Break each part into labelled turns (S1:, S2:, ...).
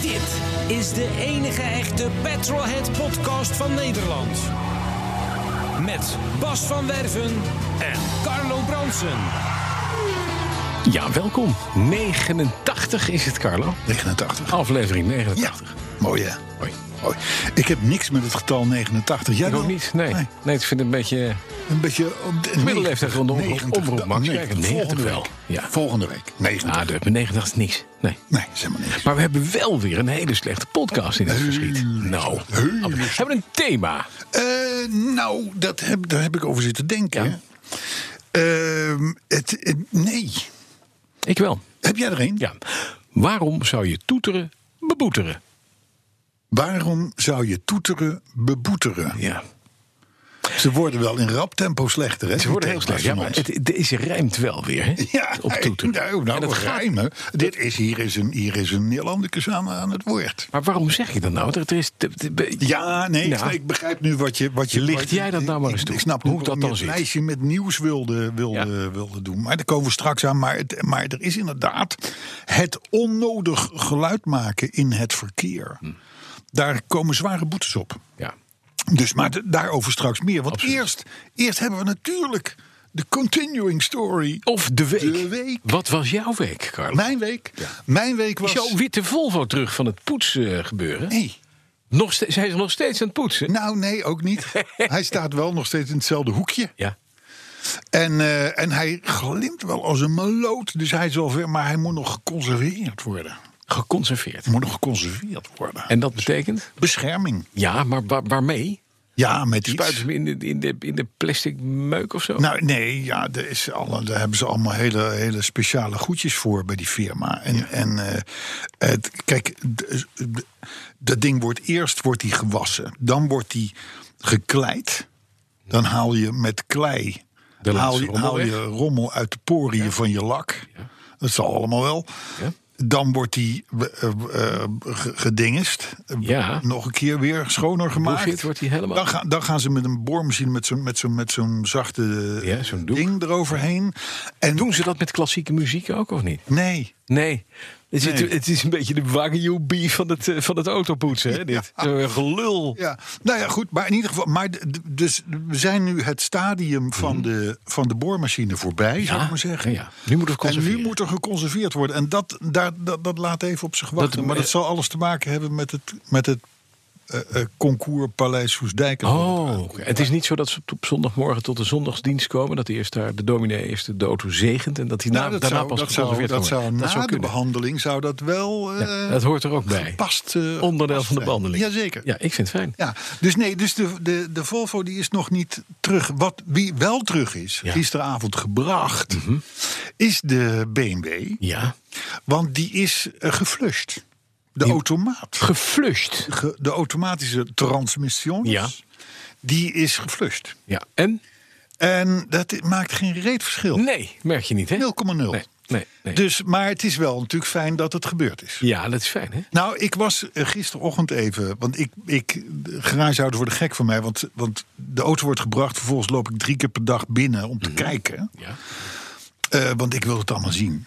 S1: Dit is de enige echte Petrolhead podcast van Nederland. Met Bas van Werven en Carlo Bronsen.
S2: Ja, welkom. 89 is het, Carlo.
S3: 89.
S2: Oh. Aflevering 89.
S3: Ja, mooi hè?
S2: Hoi.
S3: Mooi. Ik heb niks met het getal 89. Jij
S2: Ik ook
S3: wel?
S2: niet. Nee. nee. ik vind het een beetje...
S3: Een beetje... op de-
S2: Middelleeftijd rondom-
S3: 90,
S2: omroep, Max.
S3: nee,
S2: Kijk, 90
S3: volgende
S2: wel.
S3: week.
S2: Ja.
S3: Volgende week. 90.
S2: Ah, de 89 is niks. Nee.
S3: Nee, zeg maar niks.
S2: Maar we hebben wel weer een hele slechte podcast in het verschiet. Nou, we hebben een thema.
S3: Eh, nou, dat heb, daar heb ik over zitten denken.
S2: Ja.
S3: Ehm, het, het- nee.
S2: Ik wel.
S3: Heb jij er een?
S2: Ja. Waarom zou je toeteren beboeteren?
S3: Waarom zou je toeteren beboeteren?
S2: Ja.
S3: Ze worden wel in rap tempo slechter, hè?
S2: Ze worden heel
S3: Die
S2: slecht.
S3: thema's
S2: Ja,
S3: van
S2: maar
S3: ons.
S2: het, deze rijmt wel weer, hè?
S3: Ja,
S2: Op toeteren.
S3: Nou, nou
S2: En dat
S3: we
S2: gaat-
S3: rijmen. Dit is, hier is een, hier is een Neerlandicus aan, aan het woord.
S2: Maar waarom zeg je dat nou? Er is...
S3: Ja, nee, ik
S2: Ja.
S3: snap- ik begrijp nu wat je... Wat je
S2: Licht
S3: wat-
S2: Ah, nou. jij dat nou maar eens
S3: ik,
S2: toe.
S3: Ik snap
S2: Hoe
S3: niet
S2: dat
S3: waarom
S2: dan
S3: je
S2: zit.
S3: het lijstje met nieuws wilde, wilde, wilde doen. Maar daar komen we straks aan. Maar, het, maar er is inderdaad het onnodig geluid maken in het verkeer.
S2: Hm.
S3: Daar komen zware boetes op.
S2: Ja.
S3: Dus, maar d- daarover straks meer. Want eerst, eerst hebben we natuurlijk de continuing story.
S2: Of de week.
S3: De week.
S2: Wat was jouw week, Carlo?
S3: Mijn week. Mijn week was...
S2: Is jouw witte Volvo terug van het poetsen gebeuren?
S3: Nee.
S2: Nog steeds, hij is nog steeds aan het poetsen.
S3: Nou, nee, ook niet. Hij staat wel nog steeds in hetzelfde hoekje.
S2: Ja.
S3: En, eh, en hij glimt wel als een meloot. Dus hij is wel ver, maar hij moet nog geconserveerd worden.
S2: Geconserveerd.
S3: Hij moet nog geconserveerd worden.
S2: En dat betekent?
S3: bescherming.
S2: Ja, maar waar- waarmee?
S3: Ja, met iets.
S2: Spuiten ze hem in de, in, de, in de plastic meuk of zo?
S3: Nou, nee, ja, er is alle, daar hebben ze allemaal hele, hele speciale goedjes voor bij die firma. En, en eh, het, kijk, d- d- dat ding wordt eerst wordt die gewassen, dan wordt die gekleid. Dan haal je met klei
S2: De laatste
S3: haal, je-
S2: rommel
S3: haal je
S2: weg.
S3: rommel uit de poriën van je lak. Dat zal allemaal wel.
S2: Ja.
S3: Dan wordt die eh, eh, ge- gedingest.
S2: Ja.
S3: Nog een keer weer schoner gemaakt.
S2: Bullshit wordt die helemaal-
S3: Dan, ga- dan gaan ze met een boormachine met zo'n met zo'n met zo'n zachte eh,
S2: Ja, zo'n doek.
S3: ding eroverheen. En
S2: Doen ze dat met klassieke muziek ook of niet?
S3: Nee.
S2: Nee. Het,
S3: Nee.
S2: Is, het is een beetje de wagyu beef van het, eh, van het autopoetsen, hè? Dit.
S3: Ja.
S2: Zo'n gelul.
S3: Ja, nou ja, goed. Maar in ieder geval, maar d- d- dus we zijn nu het stadium van, de, van de boormachine voorbij, zou ik maar zeggen.
S2: Mhm. ja. Nu moet het
S3: en nu
S2: conserveren.
S3: moet er geconserveerd worden. En dat, daar, dat, dat laat even op zich wachten.
S2: Dat-
S3: maar dat
S2: eh,
S3: zal alles te maken hebben met het, met het eh, eh, concours Paleis Soesdijk.
S2: Oh, oké. het is niet zo dat ze op zondagmorgen tot de zondagsdienst komen. Dat eerst daar de dominee eerst de auto zegent. En dat hij
S3: Nou,
S2: na-
S3: dat
S2: daarna
S3: zou,
S2: pas
S3: dat zou,
S2: geconserveerd
S3: dat
S2: kan
S3: zou
S2: worden.
S3: na
S2: zou
S3: de
S2: kunnen.
S3: behandeling zou dat wel eh
S2: Ja, dat hoort er ook bij.
S3: past eh,
S2: Onderdeel
S3: gepast
S2: van de
S3: zijn.
S2: behandeling.
S3: Jazeker.
S2: Ja, ik vind het fijn.
S3: Ja, dus nee, dus de, de, de Volvo die is nog niet terug. Wat wie wel terug is,
S2: Ja. Mhm.
S3: gisteravond gebracht, is de BMW.
S2: Ja.
S3: Want die is eh, geflushed. De automaat.
S2: Geflushed.
S3: ge- de automatische transmission.
S2: Ja.
S3: Die is geflushed.
S2: Ja. En?
S3: En dat maakt geen reet verschil. 0,0.
S2: Nee, merk je niet, hè? Nee, nee, nee.
S3: Dus, maar het is wel natuurlijk fijn dat het gebeurd is.
S2: Ja, dat is fijn, hè?
S3: Nou, ik was eh, gisterochtend even. Want ik, ik, de garagehouders worden gek van mij. Want, want de auto wordt gebracht. Vervolgens loop ik drie keer per dag binnen om te kijken.
S2: Ja.
S3: Eh, want ik wil het allemaal zien.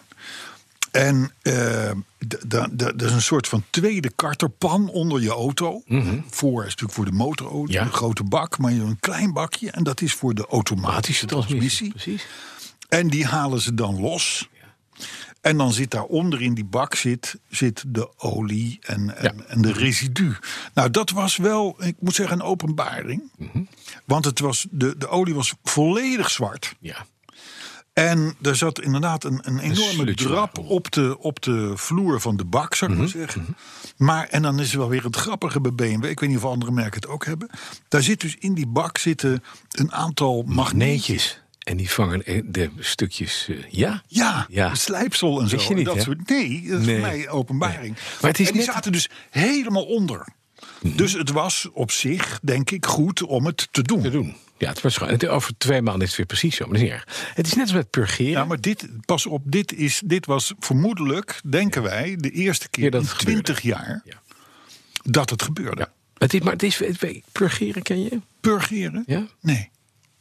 S3: En eh, d- da- da- dat is een soort van tweede karterpan onder je auto. Voor is natuurlijk voor de motorauto,
S2: Ja.
S3: een grote bak, maar je hebt een klein bakje. En dat is voor de automatische transmissie.
S2: Precies.
S3: En die halen ze dan los. En dan zit daaronder in die bak zit, zit de olie en, en,
S2: Ja.
S3: en de residu. Nou, dat was wel, ik moet zeggen, een openbaring. Want het was, de, de olie was volledig zwart.
S2: Ja.
S3: En er zat inderdaad een, een enorme
S2: slutje
S3: drap
S2: wapen.
S3: op de, op de vloer van de bak, zou ik maar zeggen. Maar, en dan is er wel weer het grappige bij BMW. Ik weet niet of andere merken het ook hebben. Daar zit dus in die bak zitten een aantal magneetjes.
S2: Magneetjes. En die vangen eh, de stukjes. eh, ja?
S3: Ja,
S2: Ja.
S3: slijpsel en zo.
S2: Wist je niet,
S3: dat
S2: hè?
S3: soort, nee, dat is
S2: Nee.
S3: voor mij openbaring.
S2: Maar het is
S3: en die
S2: net- Mhm.
S3: zaten dus helemaal onder. Dus het was op zich, denk ik, goed om het te doen.
S2: Te doen. Ja, het was gewoon. het- Over twee maanden is het weer precies zo. Maar dat is niet erg. Het is net als met purgeren.
S3: Ja, maar dit, pas op, dit, is, dit was vermoedelijk, denken wij, de eerste keer
S2: Keer dat
S3: in
S2: het gebeurde.
S3: 20 jaar
S2: Ja.
S3: dat het gebeurde.
S2: Ja. Het is, maar het is, het- purgeren ken je?
S3: Purgeren?
S2: Ja?
S3: Nee.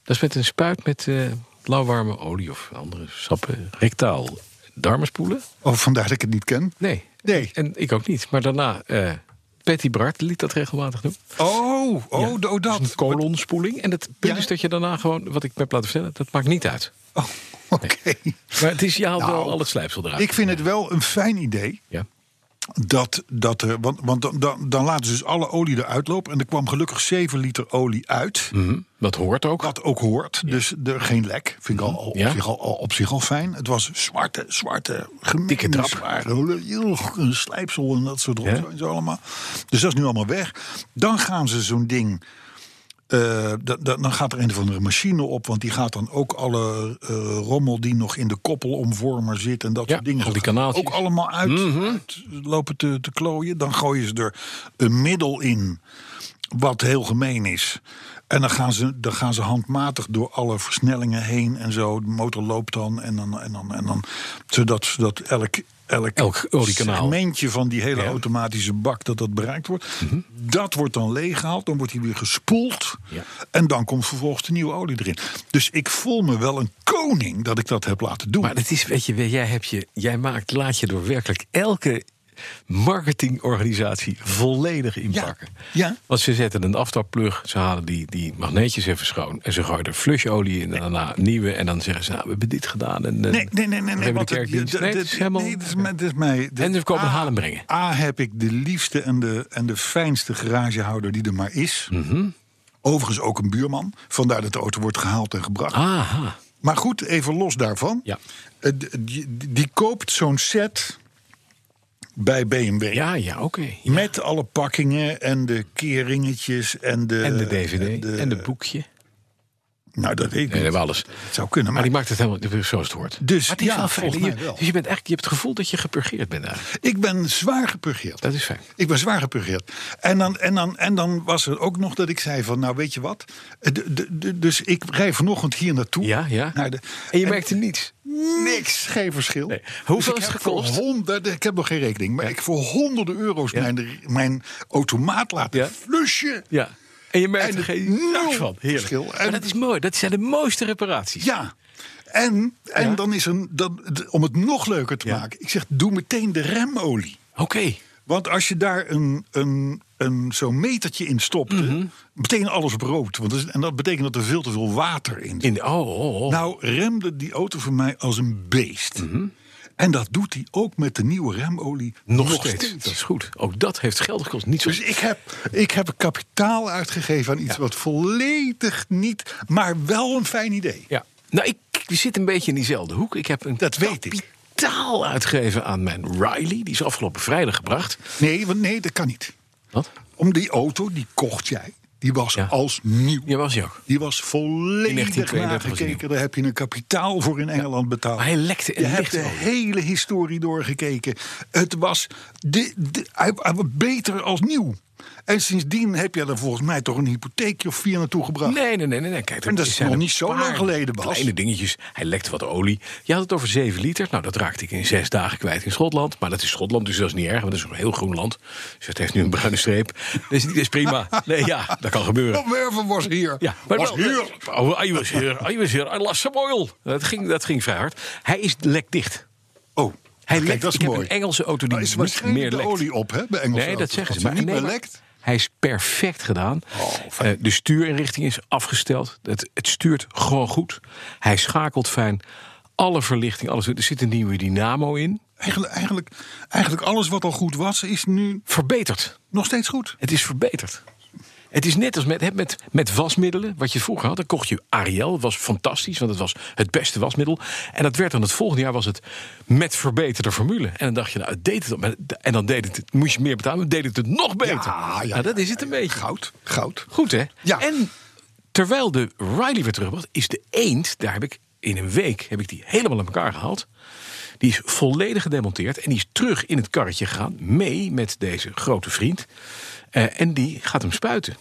S2: Dat is met een spuit met eh lauwwarme olie of andere sappen. Rectaal darmen spoelen?
S3: Oh, vandaar dat ik het niet ken.
S2: Nee.
S3: Nee.
S2: En ik ook niet. Maar daarna, eh Patty Bart liet dat regelmatig doen.
S3: Oh, oh, de- oh
S2: Dus een
S3: dat.
S2: kolonspoeling. En het punt
S3: Ja.
S2: is dat je daarna gewoon, wat ik me heb laten vertellen, dat maakt niet uit.
S3: Oh, Oké.
S2: Maar het is, je haalt wel
S3: Nou,
S2: al het slijpsel eruit.
S3: Ik vind het wel een fijn idee.
S2: Ja.
S3: Dat, dat er, want want dan, dan, dan laten ze dus alle olie eruit lopen. En er kwam gelukkig 7 liter olie uit.
S2: Mhm. Dat hoort ook.
S3: Wat ook hoort. Dus er, geen lek. Vind ik al, al op,
S2: Ja.
S3: zich al, al- op zich al fijn. Het was zwarte, zwarte,
S2: Dikke
S3: gemene,
S2: drap.
S3: zware joh, een slijpsel en dat soort rotzooi en zo allemaal. Dus dat is nu allemaal weg. Dan gaan ze zo'n ding... eh, da- da- dan gaat er een of andere machine op, want die gaat dan ook alle eh, rommel die nog in de koppelomvormer zit en dat
S2: Ja,
S3: soort dingen.
S2: al die
S3: Dat gaat
S2: kanaaltjes. Mhm.
S3: Ook allemaal uit, uit lopen te, te klooien. Dan gooien ze er een middel in wat heel gemeen is. En dan gaan ze, dan gaan ze handmatig door alle versnellingen heen en zo. De motor loopt dan en dan, en dan, en dan zodat, zodat elk, elk,
S2: Elk oliekanaal.
S3: segmentje van die hele automatische bak dat dat bereikt wordt.
S2: Mhm.
S3: Dat wordt dan leeggehaald, dan wordt hij weer gespoeld.
S2: Ja.
S3: En dan komt vervolgens de nieuwe olie erin. Dus ik voel me wel een koning dat ik dat heb laten doen.
S2: Maar het is, weet je, jij, hebt je, jij maakt, laat je door werkelijk elke marketingorganisatie volledig inpakken.
S3: ja.
S2: Want ze zetten een aftapplug, ze halen die, die magneetjes even schoon... en ze gooien er flusholie in en daarna nieuwe... en dan zeggen ze, nou, we hebben dit gedaan. En, eh,
S3: Nee, nee, nee, nee.
S2: we
S3: nee,
S2: hebben
S3: want
S2: de
S3: het-
S2: kerkdienst.
S3: dit-
S2: Nee, het
S3: dit-
S2: is helemaal...
S3: nee, dit is mijn- dit is mij. dit-
S2: En we komen
S3: A-
S2: halen brengen.
S3: A heb ik de liefste en de, en de fijnste garagehouder die er maar is.
S2: Mhm.
S3: Overigens ook een buurman. Vandaar dat de auto wordt gehaald en gebracht.
S2: Aha.
S3: Maar goed, even los daarvan.
S2: Ah. Ja.
S3: Eh, d- die, die koopt zo'n set bij BMW.
S2: Ja, ja, oké.
S3: Met alle pakkingen en de keringetjes en de...
S2: En de DVD en de boekje. Nee,
S3: Nou, dat weet ik
S2: we
S3: niet.
S2: hebben alles.
S3: Het zou
S2: Maar
S3: kunnen, maar...
S2: die maakt het helemaal zoals het hoort.
S3: Dus,
S2: Maar het is
S3: ja,
S2: wel fijn.
S3: volgens mij
S2: Je-
S3: wel.
S2: Dus je, bent echt, je hebt het gevoel dat je gepurgeerd bent eigenlijk.
S3: Ik ben zwaar gepurgeerd.
S2: Dat is fijn.
S3: Ik ben zwaar gepurgeerd. En dan, en, dan, en dan was er ook nog dat ik zei van, nou weet je wat? Eh, d- d- d- dus ik rij vanochtend hier naartoe.
S2: Ja, ja.
S3: Naar de,
S2: En je merkte niets.
S3: niks, geen verschil. Dus
S2: Nee. Hoeveel
S3: ik
S2: is het
S3: heb voor
S2: gekost?
S3: honderden- ik heb nog geen rekening, maar ik voor honderden euro's
S2: Ja.
S3: mijn, mijn automaat laten
S2: Ja.
S3: flushen.
S2: Ja. En je merkt
S3: En
S2: er geen
S3: nul
S2: niks van. Heerlijk.
S3: verschil.
S2: Maar
S3: En-
S2: dat is mooi. Dat zijn de mooiste reparaties.
S3: Ja. En, en
S2: Ja.
S3: dan is een, dan, d- om het nog leuker te
S2: Ja.
S3: maken, ik zeg, doe meteen de remolie.
S2: Oké.
S3: Want als je daar een, een, een, zo'n metertje in stopte,
S2: Mhm.
S3: meteen alles op rood. Want dat is- en dat betekent dat er veel te veel water in zit.
S2: In de, oh, oh, oh.
S3: Nou remde die auto voor mij als een beest.
S2: Mhm.
S3: En dat doet hij ook met de nieuwe remolie
S2: nog, steeds. Dat is goed. Ook dat heeft geld gekost. Niet zo...
S3: Dus ik heb, ik heb kapitaal uitgegeven aan iets
S2: Ja.
S3: wat volledig niet, maar wel een fijn idee.
S2: Ja. Nou, ik zit een beetje in diezelfde hoek. Ik heb een
S3: Dat weet ik.
S2: kapitaal uitgegeven aan mijn Riley. Die is afgelopen vrijdag gebracht.
S3: Nee, want nee, dat kan niet.
S2: Wat?
S3: Om die auto, die kocht jij. Die was
S2: Ja.
S3: als nieuw.
S2: Ja, was hij ook.
S3: Die was volledig
S2: 1932 was
S3: nagekeken. Daar heb je een kapitaal voor in Engeland betaald.
S2: Maar hij lekte en
S3: Je hebt
S2: lichtte
S3: de
S2: ook.
S3: hele historie doorgekeken. Het was de, de, hij- hij was beter als nieuw. En sindsdien heb je er volgens mij toch een hypotheekje of vier naartoe gebracht.
S2: Nee, nee, nee, nee. nee. Kijk,
S3: En dat is
S2: zijn
S3: nog
S2: een
S3: niet zo
S2: paar
S3: lang geleden, Bas.
S2: Kleine dingetjes. Hij lekte wat olie. Je had het over 7 liter. Nou, dat raakte ik in zes dagen kwijt in Schotland. Maar dat is Schotland, dus dat is niet erg. Want dat is een heel groen land. Dus het heeft nu een bruine streep. Dus dat is prima. Nee, ja, dat kan gebeuren.
S3: Van Werven was hier.
S2: Ja,
S3: was hier.
S2: Oh, I was here. I was here. I lost some oil. Dat ging, dat ging vrij hard. Hij is lekdicht.
S3: Oh,
S2: Hij
S3: kijk,
S2: lekt.
S3: dat is
S2: ik
S3: mooi.
S2: heb een Engelse auto die
S3: Nou, is
S2: niet
S3: waarschijnlijk
S2: meer
S3: de
S2: lekt.
S3: olie op, hè, bij Engelse
S2: Nee, dat
S3: auto's.
S2: zeggen ze.
S3: Als
S2: Maar,
S3: die niet
S2: nee,
S3: meer
S2: maar
S3: lekt.
S2: hij is perfect gedaan.
S3: fijn.
S2: Eh, de stuurinrichting is afgesteld. Het, het stuurt gewoon goed. Hij schakelt fijn. Alle verlichting, alles. Er zit een nieuwe dynamo in.
S3: Eigenlijk, eigenlijk, eigenlijk alles wat al goed was, is nu
S2: Verbeterd.
S3: nog steeds goed.
S2: Het is verbeterd. Het is net als met, hè, met, met wasmiddelen, wat je vroeger had. Dan kocht je Ariel, dat was fantastisch, want het was het beste wasmiddel. En dat werd dan het volgende jaar was het met verbeterde formule. En dan dacht je, nou, het deed het. al, maar het- En dan deed het, het- moest je meer betalen, maar deed het het nog beter.
S3: ja,
S2: nou, dat
S3: ja,
S2: is het een
S3: ja,
S2: beetje.
S3: Goud, goud.
S2: Goed, hè?
S3: Ja.
S2: En terwijl de Riley weer terug was, is de eend, daar heb ik in een week heb ik die helemaal aan elkaar gehaald. Die is volledig gedemonteerd en die is terug in het karretje gegaan, mee met deze grote vriend. Eh, en die gaat hem spuiten.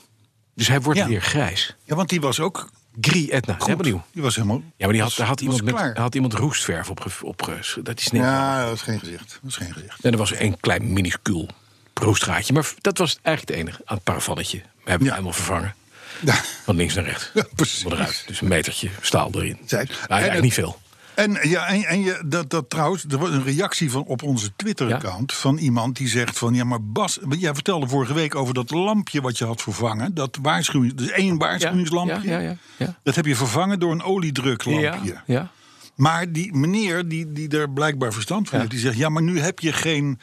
S2: Dus hij wordt
S3: Ja.
S2: weer grijs.
S3: Ja, want die was ook
S2: Gris Etna,
S3: goed.
S2: helemaal nieuw.
S3: Die was helemaal...
S2: Ja, maar die had,
S3: was-
S2: daar had,
S3: was
S2: iemand, met,
S3: klaar.
S2: daar had iemand roestverf op, ge- op ge- Dat is niks.
S3: Ja, dat is geen gezicht. Dat is geen gezicht.
S2: En er was een klein minuscuul proostraatje. Maar dat was eigenlijk het enige. Aan het paravannetje. We hebben het
S3: Ja.
S2: helemaal vervangen.
S3: Ja.
S2: Van links naar rechts.
S3: Ja, precies.
S2: Helemaal Eruit. Dus een metertje staal erin.
S3: Zij-
S2: Maar eigenlijk
S3: en het-
S2: niet veel.
S3: En, ja, en, en je, dat, dat trouwens, er was een reactie van, op onze Twitter-account van iemand die zegt van... Ja, maar Bas, want jij vertelde vorige week over dat lampje wat je had vervangen. Dat waarschuwing, dus één waarschuwingslampje.
S2: ja, ja, ja.
S3: Dat heb je vervangen door een oliedruklampje.
S2: Ja, ja.
S3: Maar die meneer die, die er blijkbaar verstand van
S2: Ja.
S3: heeft, die zegt: ja, maar nu heb je geen.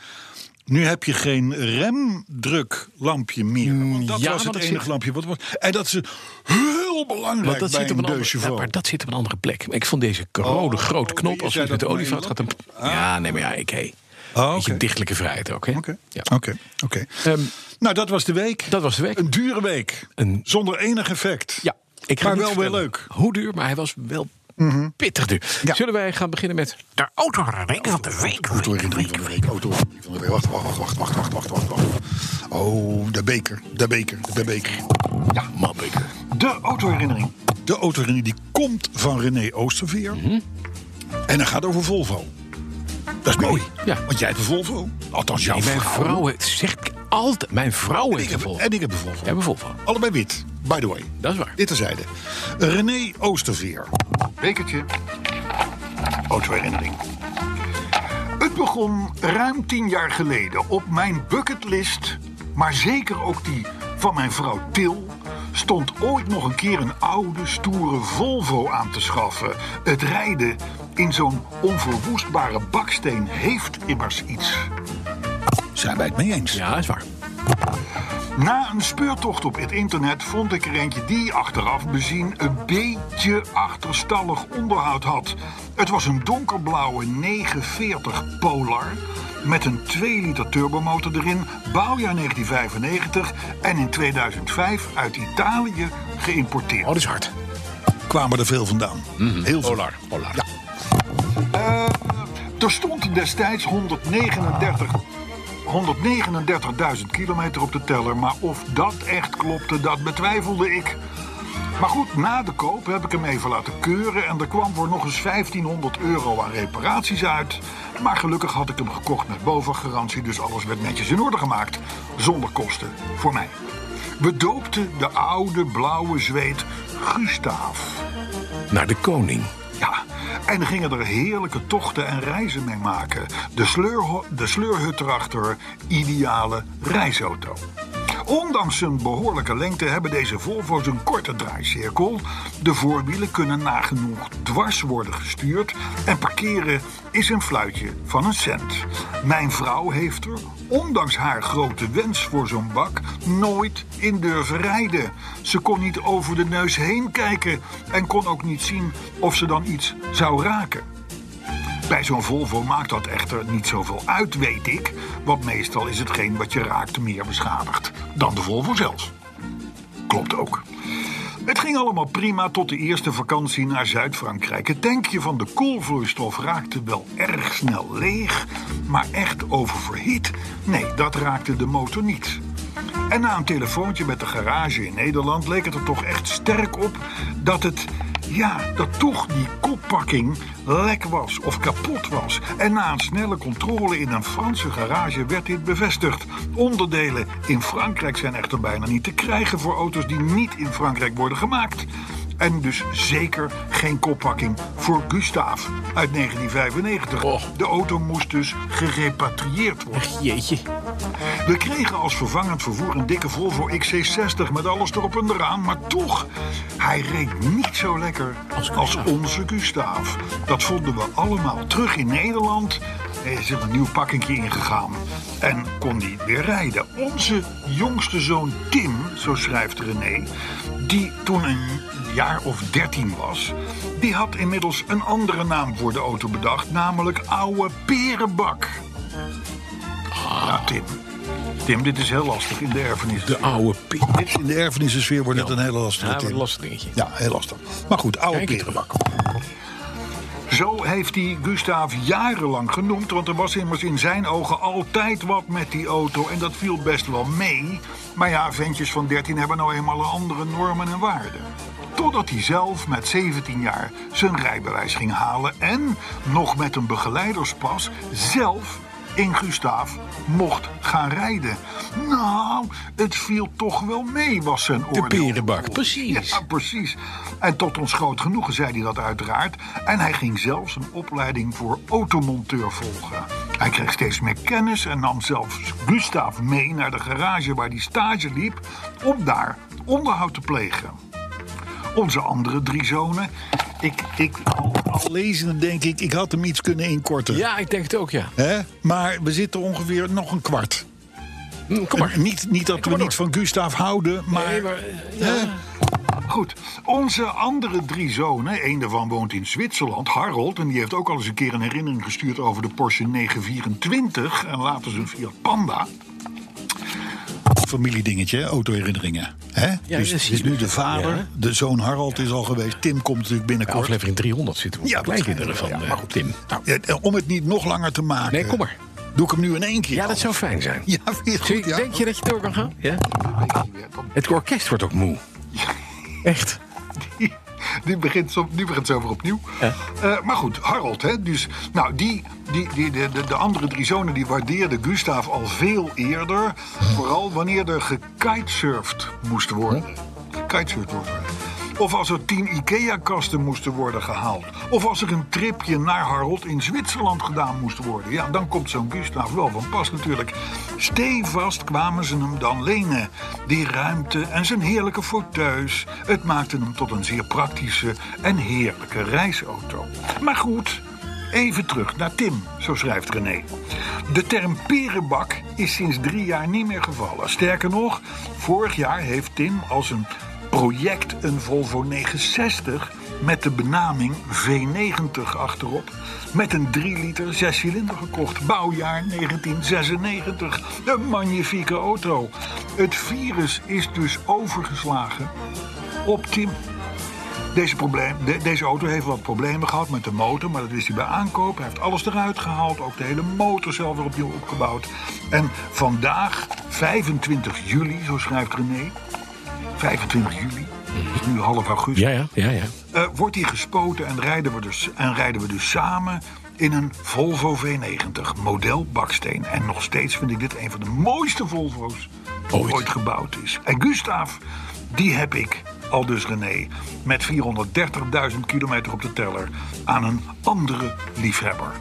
S3: Nu heb je geen remdruklampje meer. Want dat
S2: Mm, ja,
S3: was
S2: maar
S3: het
S2: dat
S3: enige
S2: zit-
S3: lampje. Wat was, en dat is heel belangrijk
S2: Want dat zit,
S3: bij
S2: op
S3: een
S2: een andere, ja,
S3: deusjeval.
S2: maar dat zit op een andere plek. Ik vond deze rode
S3: Oh,
S2: grote
S3: oh,
S2: knop,
S3: jij
S2: als je
S3: zei
S2: met de
S3: dat om
S2: olievat
S3: één
S2: gaat... Dan, ja, nee, maar ja, ik hé.
S3: Oh,
S2: Beetje
S3: oké.
S2: dichtelijke vrijheid ook, hè?
S3: Oké,
S2: Ja.
S3: oké, oké.
S2: Ehm,
S3: Nou, dat was de week.
S2: dat was de week.
S3: Een dure week.
S2: Een-
S3: Zonder enig effect.
S2: Ja, ik ga
S3: maar
S2: niet
S3: wel weer
S2: vertellen
S3: leuk. Mhm.
S2: Hoe duur, maar hij was wel pittig duur.
S3: Ja.
S2: Zullen wij gaan beginnen met
S4: De autoherinnering van de week.
S3: Autoherinnering van de week. Oh, Autoherinnering van de week. Wacht, wacht, wacht, wacht, wacht, wacht, wacht, wacht. Oh, de beker. De beker. De beker.
S2: ja. Mabbeker?
S3: De autoherinnering. De autoherinnering die komt van René Oosterveer.
S2: Mhm.
S3: En dan gaat over Volvo. Dat is mooi.
S2: Ja.
S3: Want jij hebt een Volvo. Althans, jouw
S2: Nee, mijn
S3: vrouw.
S2: vrouw het zegt altijd. Mijn vrouw
S3: En ik
S2: heeft een
S3: heb,
S2: Volvo.
S3: en ik heb een Volvo.
S2: Jij hebt een Volvo.
S3: Allebei wit. By the way.
S2: Dat is waar.
S3: Dit terzijde. René Oosterveer. Bekertje. Autoherinnering. Het begon ruim tien jaar geleden op mijn bucketlist, maar zeker ook die van mijn vrouw Til, stond ooit nog een keer een oude, stoere Volvo aan te schaffen. Het rijden in zo'n onverwoestbare baksteen heeft immers iets. Zijn wij het mee eens?
S2: Ja, is waar. Oh,
S3: Na een speurtocht op het internet vond ik er eentje die achteraf bezien een beetje achterstallig onderhoud had. Het was een donkerblauwe 940 Polar met een 2 liter turbomotor erin, bouwjaar 1995 en in 2005 uit Italië geïmporteerd.
S2: Oh, dat is hard.
S3: kwamen er veel vandaan. Heel veel.
S2: Polar. Polar. Ja.
S3: Eh, er stond destijds 139 139.000 kilometer op de teller. Maar of dat echt klopte, dat betwijfelde ik. Maar goed, na de koop heb ik hem even laten keuren. En er kwam voor nog eens 1500 euro aan reparaties uit. Maar gelukkig had ik hem gekocht met bovengarantie. Dus alles werd netjes in orde gemaakt. Zonder kosten. Voor mij. We doopten de oude blauwe zweet Gustaaf.
S2: Naar de koning.
S3: Ja, en gingen er heerlijke tochten en reizen mee maken. De, sleurho- de sleurhut erachter, ideale reisauto. Ondanks zijn behoorlijke lengte hebben deze Volvo's een korte draaicirkel. De voorwielen kunnen nagenoeg dwars worden gestuurd. En parkeren is een fluitje van een cent. Mijn vrouw heeft er, ondanks haar grote wens voor zo'n bak, nooit in durven rijden. Ze kon niet over de neus heen kijken en kon ook niet zien of ze dan iets zou raken. Bij zo'n Volvo maakt dat echter niet zoveel uit, weet ik. Want meestal is hetgeen wat je raakt meer beschadigd dan de Volvo zelf. Klopt ook. Het ging allemaal prima tot de eerste vakantie naar Zuid-Frankrijk. Het tankje van de koelvloeistof raakte wel erg snel leeg, maar echt oververhit. Nee, dat raakte de motor niet. En na een telefoontje met de garage in Nederland leek het er toch echt sterk op dat het, ja, dat toch die koppakking lek was of kapot was. En na een snelle controle in een Franse garage werd dit bevestigd. Onderdelen in Frankrijk zijn echter bijna niet te krijgen voor auto's die niet in Frankrijk worden gemaakt. En dus zeker geen koppakking voor Gustaaf uit 1995.
S2: Oh.
S3: De auto moest dus gerepatrieerd worden.
S2: Jeetje.
S3: We kregen als vervangend vervoer een dikke Volvo XC60 met alles erop en eraan, maar toch, hij reed niet zo lekker als,
S2: Gustaaf.
S3: onze Gustaaf. Dat vonden we allemaal terug in Nederland Hij is er een nieuw pakkingje ingegaan en kon niet weer rijden. Onze jongste zoon Tim, zo schrijft René, die toen een jaar of dertien was, die had inmiddels een andere naam voor de auto bedacht, namelijk oude perenbak. Nou, Tim. Tim, dit is heel lastig in de erfenis.
S2: De oude piep.
S3: Dit is in de erfenisensfeer wordt het een hele lastige
S2: Ja, wat
S3: Tim.
S2: Oh, een lastig dingetje.
S3: Ja, heel lastig. Maar goed, oude
S2: Kijk het
S3: perenbak. Zo heeft hij Gustav jarenlang genoemd, want er was immers in zijn ogen altijd wat met die auto. En dat viel best wel mee. Maar ja, ventjes van 13 hebben nou eenmaal andere normen en waarden. Totdat hij zelf met 17 jaar zijn rijbewijs ging halen en nog met een begeleiderspas zelf in Gustav mocht gaan rijden. Nou, het viel toch wel mee, was zijn oordeel.
S2: perenbak, precies.
S3: Ja, precies. En tot ons groot genoegen zei hij dat uiteraard. En hij ging zelfs een opleiding voor automonteur volgen. Hij kreeg steeds meer kennis en nam zelfs Gustav mee naar de garage waar hij stage liep om daar onderhoud te plegen. Onze andere drie zonen. Ik, ik, al, al lezende denk ik, ik had hem iets kunnen inkorten.
S2: Ja, ik denk het ook, ja.
S3: Hè? Maar we zitten ongeveer nog een kwart.
S2: Hm, Kom maar.
S3: En Niet, niet dat we
S2: maar
S3: niet van Gustav houden, maar...
S2: Nee, maar, eh, ja.
S3: Hè? Goed, onze andere drie zonen, één daarvan woont in Zwitserland, Harold, en die heeft ook al eens een keer een herinnering gestuurd over de Porsche 924 en later zijn Fiat Panda. Familiedingetje, hè, autoherinneringen. Hè?
S2: Ja, dat
S3: dus het
S2: zie
S3: is
S2: je.
S3: nu de vader,
S2: Ja.
S3: de zoon Harold is al geweest, Tim komt natuurlijk binnenkort.
S2: Aflevering 300 zitten we op. Ja, kleinkinderen van
S3: waarschijnlijk wel,
S2: eh,
S3: ja, maar goed.
S2: Tim.
S3: Nou, ja, om het niet nog langer te maken,
S2: Nee, kom maar.
S3: doe ik hem nu in één keer.
S2: Ja, dat zou fijn zijn.
S3: Ja, vind je het
S2: Zie-
S3: goed, ja?
S2: Denk je dat je door kan gaan? Ja.
S3: Dan-
S2: Het orkest wordt ook moe. Echt.
S3: nu begint, zo- nu begint ze over opnieuw. Eh, maar goed, Harold, hè, dus, nou, die, die, die, de, de, de andere drie zonen die waardeerden Gustav al veel eerder. Vooral wanneer er gekitesurfd moest worden. Gekitesurfd moest worden. Of als er tien IKEA-kasten moesten worden gehaald. Of als er een tripje naar Harold in Zwitserland gedaan moest worden. Ja, dan komt zo'n Gustav wel van pas natuurlijk. Stevast kwamen ze hem dan lenen. Die ruimte en zijn heerlijke fauteuils. Het maakte hem tot een zeer praktische en heerlijke reisauto. Maar goed, even terug naar Tim, zo schrijft René. De term perenbak is sinds drie jaar niet meer gevallen. Sterker nog, vorig jaar heeft Tim als een project een Volvo 960 met de benaming V90 achterop. Met een 3 liter 6 cilinder gekocht, bouwjaar 1996. Een magnifieke auto. Het virus is dus overgeslagen op Tim. Deze, probleem, de- deze auto heeft wat problemen gehad met de motor, maar dat wist hij bij aankoop. Hij heeft alles eruit gehaald, ook de hele motor zelf weer opnieuw opgebouwd. En vandaag, 25 juli, zo schrijft René, 25 juli, het is nu half augustus
S2: Ja, ja, ja, ja.
S3: eh, wordt hij gespoten en rijden, we dus, en rijden we dus samen in een Volvo V90 model baksteen. En nog steeds vind ik dit een van de mooiste Volvo's die ooit,
S2: Ooit.
S3: gebouwd is. En Gustav, die heb ik, al dus René, met 430.000 kilometer op de teller aan een andere liefhebber.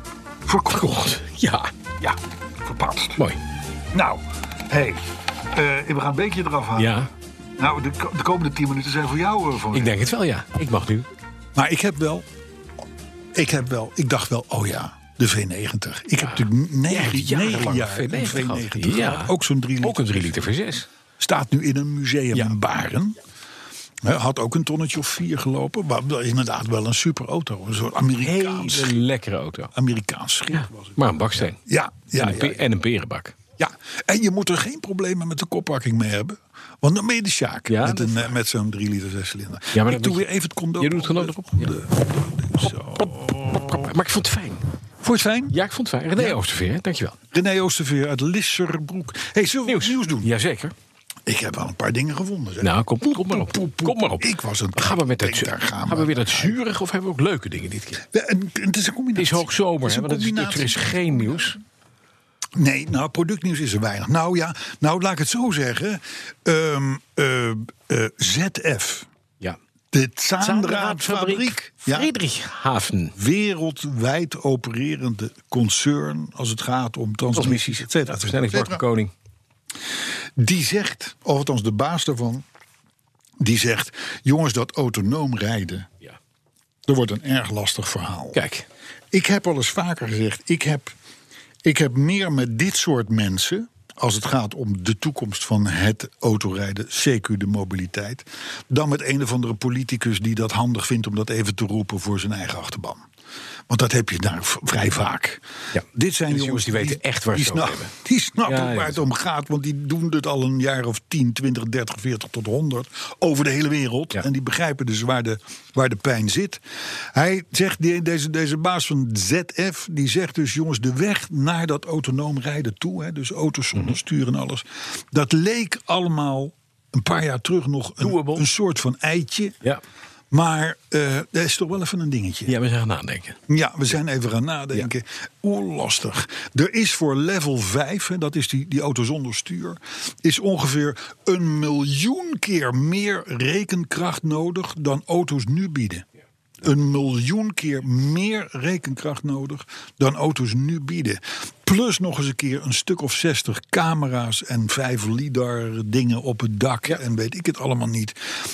S3: Verkocht.
S2: Ja,
S3: Ja, verpatst.
S2: mooi.
S3: Nou, hé, hey, eh, we gaan een beetje eraf halen.
S2: Ja,
S3: Nou, de, ko- de komende 10 minuten zijn voor jou, eh, Van
S2: ik denk het wel, ja. Ik mag nu.
S3: Maar ik heb wel. Ik heb wel. Ik dacht wel, oh ja, de V90. Ik heb natuurlijk
S2: Ja,
S3: negen,
S2: die jarenlang
S3: negen jaar een
S2: V90
S3: V90
S2: gehad.
S3: gehad.
S2: Ja.
S3: Ook zo'n 3
S2: Ook een 3 liter V6.
S3: Staat nu in een museum in Baren. Hè, Had ook een tonnetje of vier gelopen. Maar wel inderdaad wel een super auto. Een soort Amerikaans,
S2: Hele lekkere auto.
S3: Amerikaans schip was het.
S2: Maar een baksteen.
S3: Ja, ja,
S2: en, een
S3: ja,
S2: pe- en een perenbak.
S3: ja. En je moet er geen problemen met de koppakking mee hebben. Want dan ben je de Sjaak
S2: Ja,
S3: met,
S2: dat
S3: een, eh, met zo'n 3 liter 6 cilinder.
S2: Ja, maar
S3: ik
S2: dat
S3: doe
S2: moet
S3: weer
S2: je-
S3: even het condoom.
S2: Je doet het condoom
S3: op.
S2: erop.
S3: De- Zo.
S2: Maar ik vond het fijn.
S3: Vond je het fijn?
S2: Ja, ik vond het fijn. René Oosterveer, dankjewel.
S3: René Oosterveer uit Lisserbroek. hey, zullen we nieuws. nieuws doen?
S2: Jazeker.
S3: Ik heb wel een paar dingen gevonden. zeg.
S2: Nou, kom, kom maar op.
S3: poep, poep, poep.
S2: Kom maar op.
S3: Ik was een-
S2: Gaan we met dat
S3: Ik denk, daar gaan
S2: gaan,
S3: we.
S2: we weer dat zurige of hebben we ook leuke dingen dit keer?
S3: Ja, en, en het is een
S2: Het
S3: combinatie.
S2: is hoogzomer,
S3: Het
S2: hè,
S3: een
S2: want het is, er is
S3: combinatie.
S2: geen nieuws.
S3: Nee, nou, productnieuws is er weinig. Nou ja, nou laat ik het zo zeggen. Ehm, eh, eh, ZF,
S2: Ja.
S3: de Zaandraadfabriek. Ja,
S2: Friedrichshafen.
S3: wereldwijd opererende concern als het gaat om transmissies, et cetera, et cetera, et cetera.
S2: Versnellingsbarkoning.
S3: die zegt, of althans de baas daarvan, die zegt: jongens, dat autonoom rijden,
S2: Ja.
S3: dat wordt een erg lastig verhaal.
S2: Kijk.
S3: Ik heb al eens vaker gezegd, ik heb Ik heb meer met dit soort mensen. Als het gaat om de toekomst van het autorijden, CQ de mobiliteit. dan met een of andere politicus die dat handig vindt om dat even te roepen voor zijn eigen achterban. Want dat heb je daar v- vrij vaak.
S2: Ja.
S3: Dit zijn
S2: Dus
S3: jongens,
S2: jongens die weten echt waar
S3: die
S2: ze het over
S3: snap-
S2: hebben.
S3: Die snappen
S2: Ja, ja,
S3: waar
S2: dat
S3: het
S2: is
S3: om gaat, want die doen dit al een jaar of 10, 20, 30, 40 tot 100 over de hele wereld.
S2: Ja.
S3: En die begrijpen dus waar de, waar de pijn zit. Hij zegt, die- deze, deze baas van ZF, die zegt dus: jongens, de weg naar dat autonoom rijden toe, hè, dus auto's
S2: Mhm.
S3: zonder stuur en alles, dat leek allemaal een paar jaar terug nog een,
S2: Doable.
S3: een soort van eitje.
S2: Ja.
S3: Maar eh, dat is toch wel even een dingetje.
S2: Ja, we zijn aan het nadenken.
S3: Ja, we zijn even gaan nadenken. Oeh, lastig. Er is voor level 5, hè, dat is die, die auto zonder stuur, is ongeveer een miljoen keer meer rekenkracht nodig dan auto's nu bieden. Een miljoen keer meer rekenkracht nodig dan auto's nu bieden. Plus nog eens een keer een stuk of 60 camera's en vijf lidar dingen op het dak en weet ik het allemaal niet.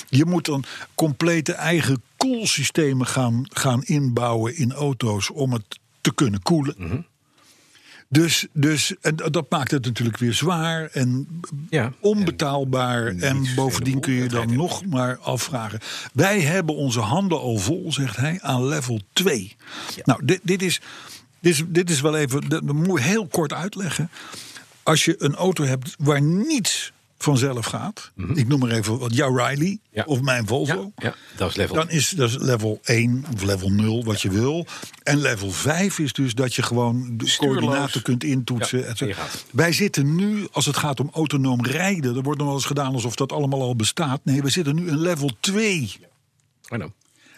S3: Je moet dan complete eigen koelsystemen gaan, gaan inbouwen in auto's om het te kunnen koelen.
S2: Mhm.
S3: Dus, dus en dat maakt het natuurlijk weer zwaar en
S2: Ja.
S3: onbetaalbaar. En, bovendien kun je
S2: dat
S3: dan
S2: hij
S3: nog maar afvragen. Wij hebben onze handen al vol, zegt hij, aan level 2. Nou, dit, dit, is, dit, is, dit is wel even, dat moet ik heel kort uitleggen. Als je een auto hebt waar niets vanzelf gaat. Ik noem maar even wat jouw Riley
S2: Mhm. Ja.
S3: of mijn Volvo.
S2: Ja, dat is level.
S3: Dan is dat is level 1 of level 0, wat je wil. En level 5 is dus dat je gewoon de
S2: Stuurloos.
S3: coördinaten kunt intoetsen.
S2: Ja,
S3: et cetera.
S2: en je gaat.
S3: Wij zitten nu, als het gaat om autonoom rijden... er wordt nog wel eens gedaan alsof dat allemaal al bestaat. Nee, we zitten nu in level 2.
S2: I know.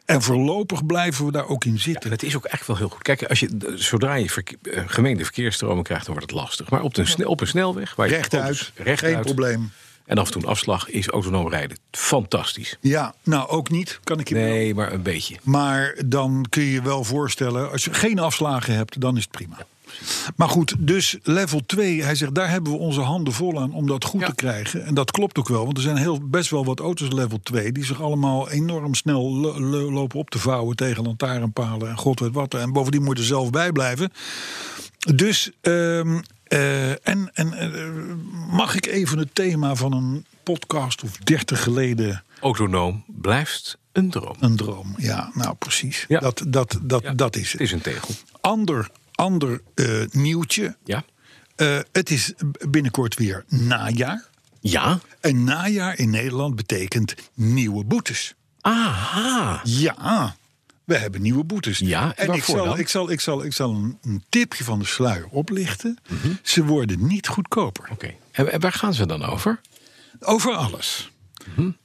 S3: En voorlopig blijven we daar ook in
S2: En
S3: zitten.
S2: het is ook echt wel heel goed. Kijk, als je, d- zodra je verke- eh, gemengde verkeersstromen krijgt, dan wordt het lastig. Maar op een, sne- op een snelweg, waar je
S3: Rechtuit,
S2: auto's- rechtuit,
S3: geen probleem.
S2: En af en toe een afslag is autonoom rijden fantastisch.
S3: Ja, nou ook niet, kan ik je wel.
S2: Nee, maar een beetje.
S3: Maar dan kun je je wel voorstellen, als je geen afslagen hebt, dan is het prima. Maar goed, dus level 2, hij zegt, daar hebben we onze handen vol aan om dat goed
S2: Ja.
S3: te krijgen. En dat klopt ook wel, want er zijn heel, best wel wat auto's level 2 die zich allemaal enorm snel lo- lo- lopen op te vouwen tegen lantaarnpalen en god weet wat. En bovendien moet je er zelf bij blijven. Dus, ehm, eh, en, en eh, mag ik even het thema van een podcast of 30 geleden
S2: Autonoom blijft een droom.
S3: een droom. Ja, nou precies.
S2: Ja.
S3: Dat, dat, dat,
S2: Ja,
S3: dat is
S2: Het
S3: het.
S2: is een tegel.
S3: Ander, ander eh, nieuwtje.
S2: Ja.
S3: Eh, het is binnenkort weer najaar.
S2: Ja.
S3: En najaar in Nederland betekent nieuwe boetes.
S2: Aha.
S3: Ja, we hebben nieuwe boetes.
S2: Ja, en
S3: en ik
S2: waarvoor
S3: zal,
S2: dan?
S3: ik zal, ik zal, ik zal een, een tipje van de sluier oplichten.
S2: Mhm.
S3: Ze worden niet goedkoper.
S2: Oké. En en waar gaan ze dan over?
S3: Over alles.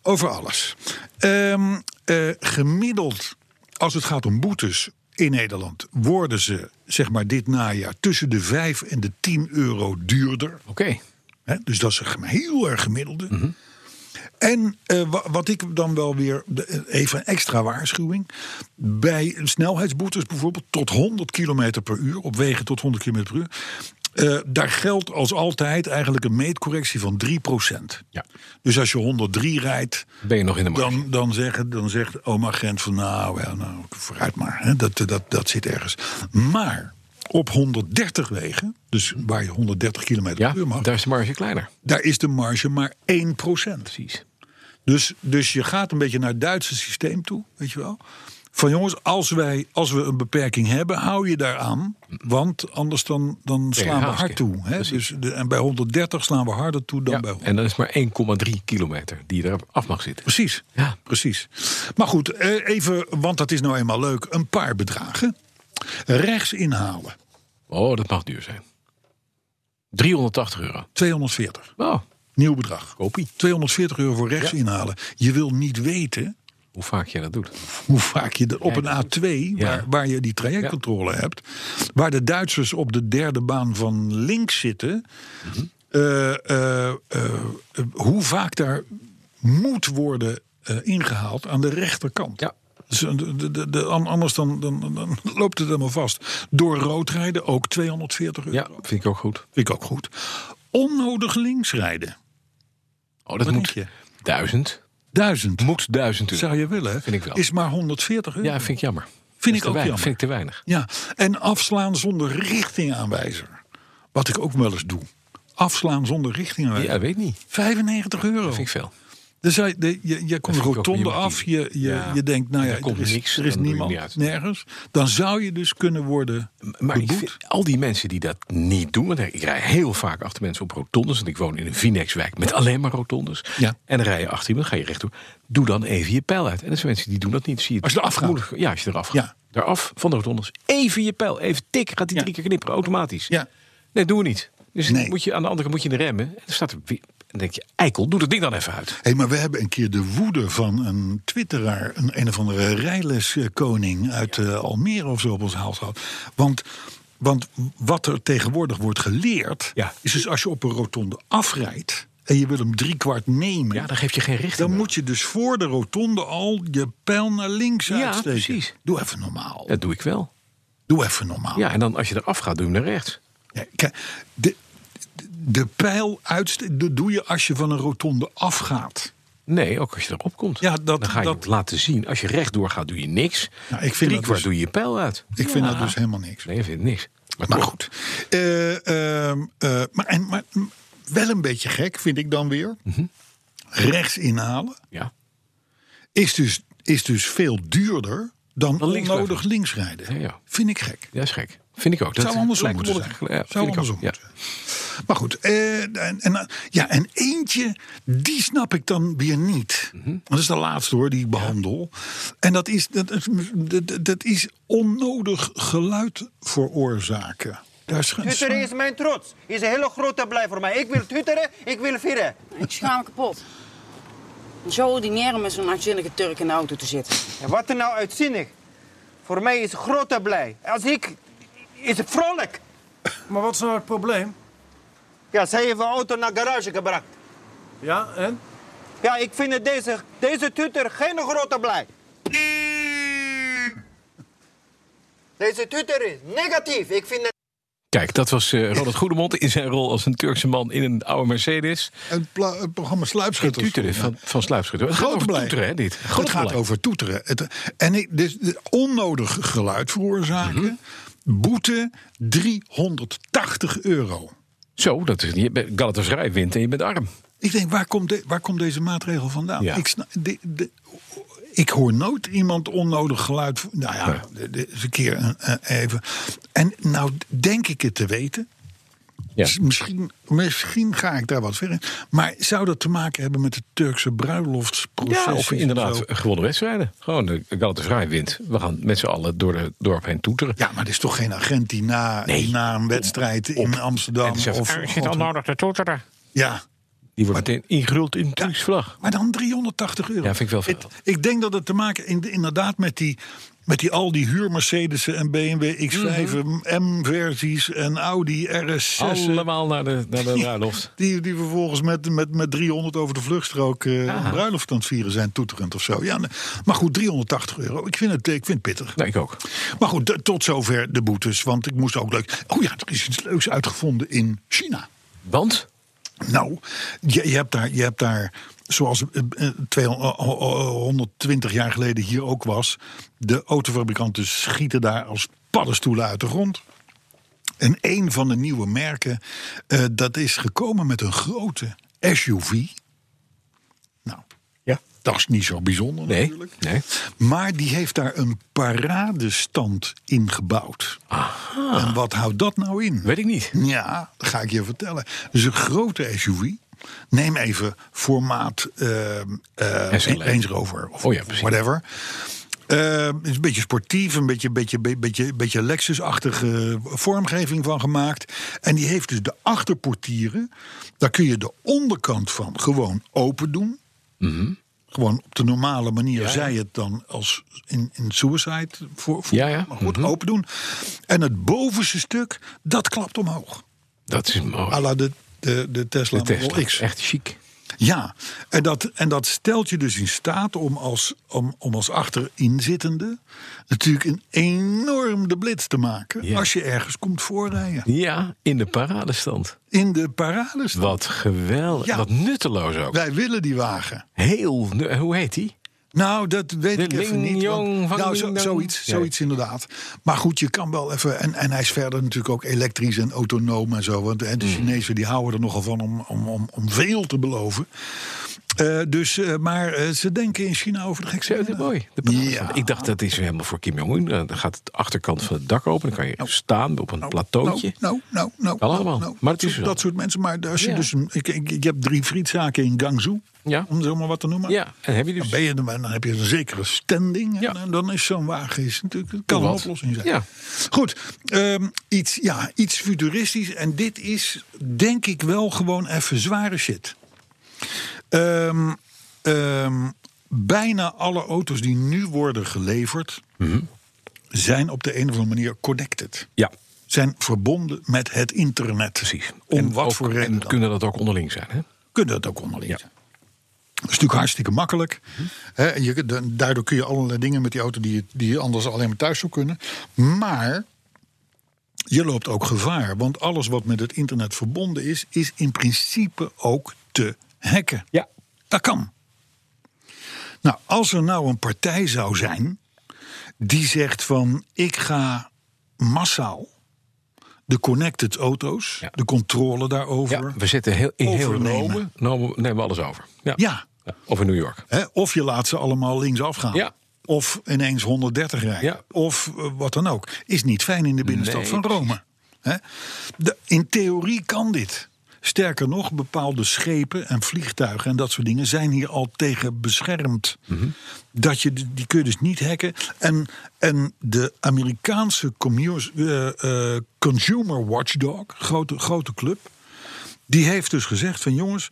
S3: Over alles. Ehm, eh, gemiddeld, als het gaat om boetes in Nederland, worden ze zeg maar dit najaar tussen de 5 en de 10 euro duurder.
S2: Oké.
S3: Hè, dus dat is een gem- heel erg gemiddelde.
S2: Mhm.
S3: En eh, wa- wat ik dan wel weer, de- even een extra waarschuwing. Bij snelheidsboetes bijvoorbeeld tot 100 km per uur, op wegen tot 100 km per uur. eh, daar geldt als altijd eigenlijk een meetcorrectie van 3%.
S2: Ja.
S3: Dus als je 103 rijdt,
S2: Ben je nog in de markt?
S3: dan, dan, zeggen, dan zegt oma Gent van nou, ja, nou vooruit maar. Hè, dat, dat, dat zit ergens. Maar op 130 wegen, dus waar je 130 km per uur
S2: Mhm. Ja,
S3: mag,
S2: daar is de marge kleiner.
S3: daar is de marge maar 1%.
S2: Precies.
S3: Dus, dus je gaat een beetje naar het Duitse systeem toe, weet je wel. Van jongens, als, wij, als we een beperking hebben, hou je daar aan. Want anders dan, dan slaan we
S2: haast, ja.
S3: hard toe. Hè? Dus de- en bij 130 slaan we harder toe dan bij
S2: Ja.
S3: 100.
S2: En dan is maar 1,3 kilometer die er af mag zitten.
S3: Precies.
S2: Ja.
S3: Precies. Maar goed, eh, even, want dat is nou eenmaal leuk, een paar bedragen. Rechts inhalen,
S2: Oh, dat mag duur zijn. 380 euro.
S3: 240.
S2: Oh,
S3: Nieuw bedrag.
S2: kopie.
S3: 240 euro voor rechts inhalen. Je wil niet weten
S2: Hoe vaak jij dat doet.
S3: hoe vaak je dat op een A2, waar, waar je die trajectcontrole hebt, waar de Duitsers op de derde baan van links zitten,
S2: Mhm.
S3: eh, eh, eh, eh, hoe vaak daar moet worden eh, ingehaald aan de rechterkant.
S2: Ja.
S3: Dus, eh, de- de- de- an- anders dan, dan, dan loopt het helemaal vast. Door rood rijden ook 240 euro.
S2: Ja, vind ik ook goed.
S3: Vind ik ook goed. Onnodig links rijden.
S2: Oh, dat
S3: Wat
S2: moet
S3: denk
S2: 1000.
S3: Duizend.
S2: Moet 1000 euro.
S3: Zou je willen? hè?
S2: Vind ik wel.
S3: Is maar 140 euro.
S2: Ja, vind ik jammer. Dat
S3: ik
S2: is te
S3: ook
S2: weinig.
S3: jammer.
S2: Vind ik te weinig.
S3: Ja, en afslaan zonder richtingaanwijzer. Wat ik ook wel eens doe. Afslaan zonder richting.
S2: Ja, Oh. weet niet.
S3: 95 euro.
S2: Dat vind ik veel.
S3: Dus hij, de, je, je komt de
S2: vind ik ook
S3: rotonde
S2: prima.
S3: af, je, je,
S2: Ja.
S3: je denkt, nou
S2: En
S3: ja,
S2: er komt
S3: er is,
S2: niks,
S3: er is
S2: dan doe je
S3: niemand,
S2: niet uit.
S3: nergens. Dan zou je dus kunnen worden
S2: Maar ik
S3: beboet.
S2: vind al die mensen die dat niet doen, want ik rij heel vaak achter mensen op rotondes, want ik woon in een Vinex-wijk met alleen maar rotondes.
S3: Ja.
S2: En dan rij je achter iemand, ga je rechtdoor. Doe dan even je pijl uit. En dat zijn mensen die doen dat niet. Zie je het
S3: Als je eraf gaat.
S2: moeilijk- Ja, als je eraf gaat.
S3: Ja.
S2: Daaraf van de rotondes. Even je pijl, even tik, gaat die
S3: Ja.
S2: drie keer knipperen, automatisch.
S3: Ja.
S2: Nee, doen we niet. Dus
S3: Nee.
S2: moet je, aan de andere kant moet je in de remmen. En dan staat er, wie- dan denk je, eikel, doe dat ding dan even uit.
S3: Hé, maar we hebben een keer de woede van een twitteraar... een een of andere rijleskoning uit eh, Almere of zo op ons haal gehad. Want, want wat er tegenwoordig wordt geleerd...
S2: Ja.
S3: is dus als je op een rotonde afrijdt... en je wil hem driekwart nemen...
S2: Ja, dan geef je geen richting.
S3: dan
S2: meer.
S3: moet je dus voor de rotonde al je pijl naar links
S2: Ja,
S3: uitsteken.
S2: precies.
S3: Doe even normaal.
S2: Dat doe ik wel.
S3: Doe even normaal.
S2: Ja, en dan als je eraf gaat, doe je hem naar rechts.
S3: Nee, kijk, de, de pijl uitsteken... dat doe je als je van een rotonde afgaat.
S2: Nee, ook als je erop komt.
S3: Ja, dat-
S2: dan ga je
S3: dat-
S2: het laten zien. Als je rechtdoor gaat, doe je niks.
S3: Nou, ik vind
S2: Drie
S3: dat
S2: kwart
S3: dus-
S2: doe je je pijl uit.
S3: Ik vind dat dus helemaal niks.
S2: Nee, je vindt niks. Maar,
S3: Maar
S2: toch.
S3: goed. Eh, ehm, eh, maar, en, maar mm, wel een beetje gek, vind ik dan weer.
S2: Mhm.
S3: Rechts inhalen
S2: Ja.
S3: is dus, is dus veel duurder dan
S2: Dan links
S3: onnodig
S2: blijven.
S3: links rijden.
S2: Ja, ja.
S3: Vind ik gek.
S2: ja, is gek. Vind ik ook.
S3: zou andersom
S2: lijkt me
S3: moeten zijn.
S2: wel- Ja,
S3: Zou
S2: vind ik ook.
S3: andersom
S2: Ja.
S3: moeten Maar goed, eh, en, en, ja, en eentje, die snap ik dan weer niet.
S2: Mhm.
S3: Dat is de laatste hoor, die ik behandel. En dat is, dat, is- dat, dat is onnodig geluid veroorzaken. Daar is geen
S5: Twitteren is mijn trots. Is een hele grote blij voor mij. Ik wil twitteren, ik wil vieren.
S6: Ik schaam me kapot. Zo ordinair om met zo'n uitzinnige Turk in de auto te zitten.
S5: En wat er nou uitzinnig? Voor mij is grote blij. Als ik... is het vrolijk.
S7: Maar wat is nou het probleem?
S5: Ja, zij heeft een auto naar garage gebracht.
S7: Ja, en?
S5: Ja, ik vind het deze, deze Twitter geen grote blij. Deze Twitter is negatief. Ik vind het...
S2: Kijk, dat was eh Ronald Goedemond in zijn rol als een Turkse man in een oude Mercedes.
S3: Een pla- een programma Sluipschutters.
S2: Tuteren van, van Sluipschutter. Het gaat
S3: Grote
S2: over
S3: blij.
S2: toeteren, hè, dit. Grote
S3: Het gaat
S2: blij.
S3: over toeteren. Het, en ik, dus de onnodig geluid veroorzaken.
S2: Mhm.
S3: Boete 380 euro.
S2: Zo, dat is niet... je bent- Galatasaray wint en je bent arm.
S3: Ik denk, waar komt, de- waar komt deze maatregel vandaan?
S2: Ja.
S3: Ik, sna- de- de- ik hoor nooit iemand onnodig geluid. vo- Nou ja, de- de- eens een keer een- eh, even. En nou denk ik het te weten.
S2: Ja.
S3: Dus Misschien, misschien ga ik daar wat ver in. Maar zou dat te maken hebben met de Turkse bruiloftsproces?
S2: Ja, of inderdaad gewonnen wedstrijden. Gewoon, eh, Galatasaray wint. We gaan met z'n allen door het dorp heen toeteren.
S3: Ja, maar er is toch geen agent die na,
S2: Nee.
S3: die na een wedstrijd in Amsterdam.
S2: En zegt,
S3: of,
S2: er nou
S4: Zit onnodig te toeteren.
S3: ja,
S2: Die wordt meteen ingeruld in de Turks vlag.
S3: maar dan 380 euro.
S2: Ja, vind ik wel veel.
S3: Het- ik denk dat het te maken in, inderdaad met die, met die al die huur Mercedes'en en BMW X5,
S2: Mhm.
S3: M-versies en Audi RS6.
S2: Allemaal naar de, naar de bruiloft.
S3: Die, die vervolgens met, met, met 300 over de vluchtstrook eh, een bruiloft aan het vieren zijn, toeterend of zo. Ja, nee. maar goed, 380 euro. Ik vind het, ik vind het pittig.
S2: Nee, Nou, ik ook.
S3: Maar goed, d- tot zover de boetes. Want ik moest ook leuk. Oh ja, er is iets leuks uitgevonden in China.
S2: Want?
S3: Nou, je, je, hebt daar, je hebt daar, zoals eh, eh, 200, eh, eh, 120 jaar geleden hier ook was, de autofabrikanten schieten daar als paddenstoelen uit de grond. En een van de nieuwe merken, eh, dat is gekomen met een grote SUV. Nou,
S2: Ja.
S3: dat is niet zo bijzonder
S2: Nee.
S3: natuurlijk.
S2: nee.
S3: Maar die heeft daar een paradestand in gebouwd. En wat houdt dat nou in?
S2: Weet ik niet.
S3: Ja, dat ga ik je vertellen. Dus een grote SUV. Neem even formaat eh, eh,
S2: SLA.
S3: Range Rover of
S2: Oh ja, precies.
S3: whatever. Eh, het is een beetje sportief, een beetje, beetje, be- beetje, beetje Lexus-achtige vormgeving van gemaakt. En die heeft dus de achterportieren. Daar kun je de onderkant van gewoon open doen. Gewoon op de normale manier zei het dan als in, in Suicide. Voor, voor,
S2: Ja, Mhm. ja.
S3: Maar goed, open doen. En het bovenste stuk, dat klapt omhoog.
S2: Dat is mooi.
S3: À la de, de, de Tesla
S2: De
S3: Model
S2: Tesla.
S3: X.
S2: Echt chic.
S3: Ja, en dat, en dat stelt je dus in staat om als, om, om als achterinzittende... natuurlijk een enorm de blitz te maken...
S2: Ja.
S3: als je ergens komt voorrijden.
S2: Ja, in de paradestand.
S3: In de parades.
S2: Wat geweldig.
S3: Ja.
S2: Wat nutteloos ook.
S3: Wij willen die wagen.
S2: Heel... nu- Hoe heet die?
S3: Nou, dat weet
S2: De
S3: ik even
S2: Ling
S3: niet. want-
S2: Yong van
S3: nou, zo-
S2: Ding Dong.
S3: zoiets,
S2: Nee.
S3: zoiets inderdaad. Maar goed, je kan wel even... En, en hij is verder natuurlijk ook elektrisch en autonoom en zo. Want
S2: Mm.
S3: hè, de Chinezen die houden er nogal van om, om, om, om veel te beloven. Eh, dus, eh, maar eh, ze denken in China over de gekste.
S2: Zo, dat is
S3: dingen.
S2: mooi. De banaan. Ik dacht, dat is helemaal voor Kim Jong-un. Eh, Dan gaat de achterkant van het dak open. Dan kan je staan op een plateautje.
S3: Nou, nou, nou.
S2: Kan
S3: nou,
S2: allemaal.
S3: nou.
S2: Maar het is
S3: Zo-
S2: wel.
S3: dat soort mensen. Maar als je
S2: Ja.
S3: dus. een- Ik, ik, ik heb drie frietzaken in Gangzhou.
S2: Ja.
S3: Om zo maar wat te noemen.
S2: Ja, en heb je dus...
S3: Dan, ben je, er, maar dan heb je een zekere standing. En,
S2: Ja.
S3: en dan is zo'n wagen is natuurlijk, het kan
S2: Doe
S3: een
S2: wat.
S3: oplossing zijn.
S2: Ja.
S3: Goed, ehm, iets, ja, iets futuristisch. En dit is denk ik wel gewoon even zware shit. Ehm, ehm, bijna alle auto's die nu worden geleverd...
S2: Mhm.
S3: zijn op de een of andere manier connected.
S2: Ja,
S3: Zijn verbonden met het internet.
S2: precies.
S3: Om
S2: En
S3: wat
S2: ook-
S3: voor
S2: En
S3: reden dan.
S2: kunnen dat ook onderling zijn, hè?
S3: Kunnen dat ook onderling
S2: Ja.
S3: zijn. Dat is natuurlijk hartstikke makkelijk. Hè, en je, da- daardoor kun je allerlei dingen met die auto die je, die je anders alleen maar thuis zou kunnen. Maar je loopt ook gevaar. Want alles wat met het internet verbonden is, is in principe ook te hacken.
S2: Ja.
S3: Dat kan. Nou, als er nou een partij zou zijn die zegt van ik ga massaal de connected auto's,
S2: Ja.
S3: de controle daarover.
S2: Ja, we zitten heel, in heel
S3: Overnemen.
S2: Rome. Rome nemen we alles over.
S3: Ja.
S2: Of in New York.
S3: Hè, of je laat ze allemaal linksaf gaan.
S2: Ja.
S3: Of ineens 130 rijden.
S2: Ja.
S3: Of eh, wat dan ook. Is niet fijn in de binnenstad
S2: Nee,
S3: van Rome. Hè? De, in theorie kan dit. Sterker nog, bepaalde schepen en vliegtuigen en dat soort dingen zijn hier al tegen beschermd.
S2: Mhm.
S3: dat je, die die kun je dus niet hacken. En, en de Amerikaanse commu- eh, eh, Consumer Watchdog, grote, grote club, die heeft dus gezegd van jongens,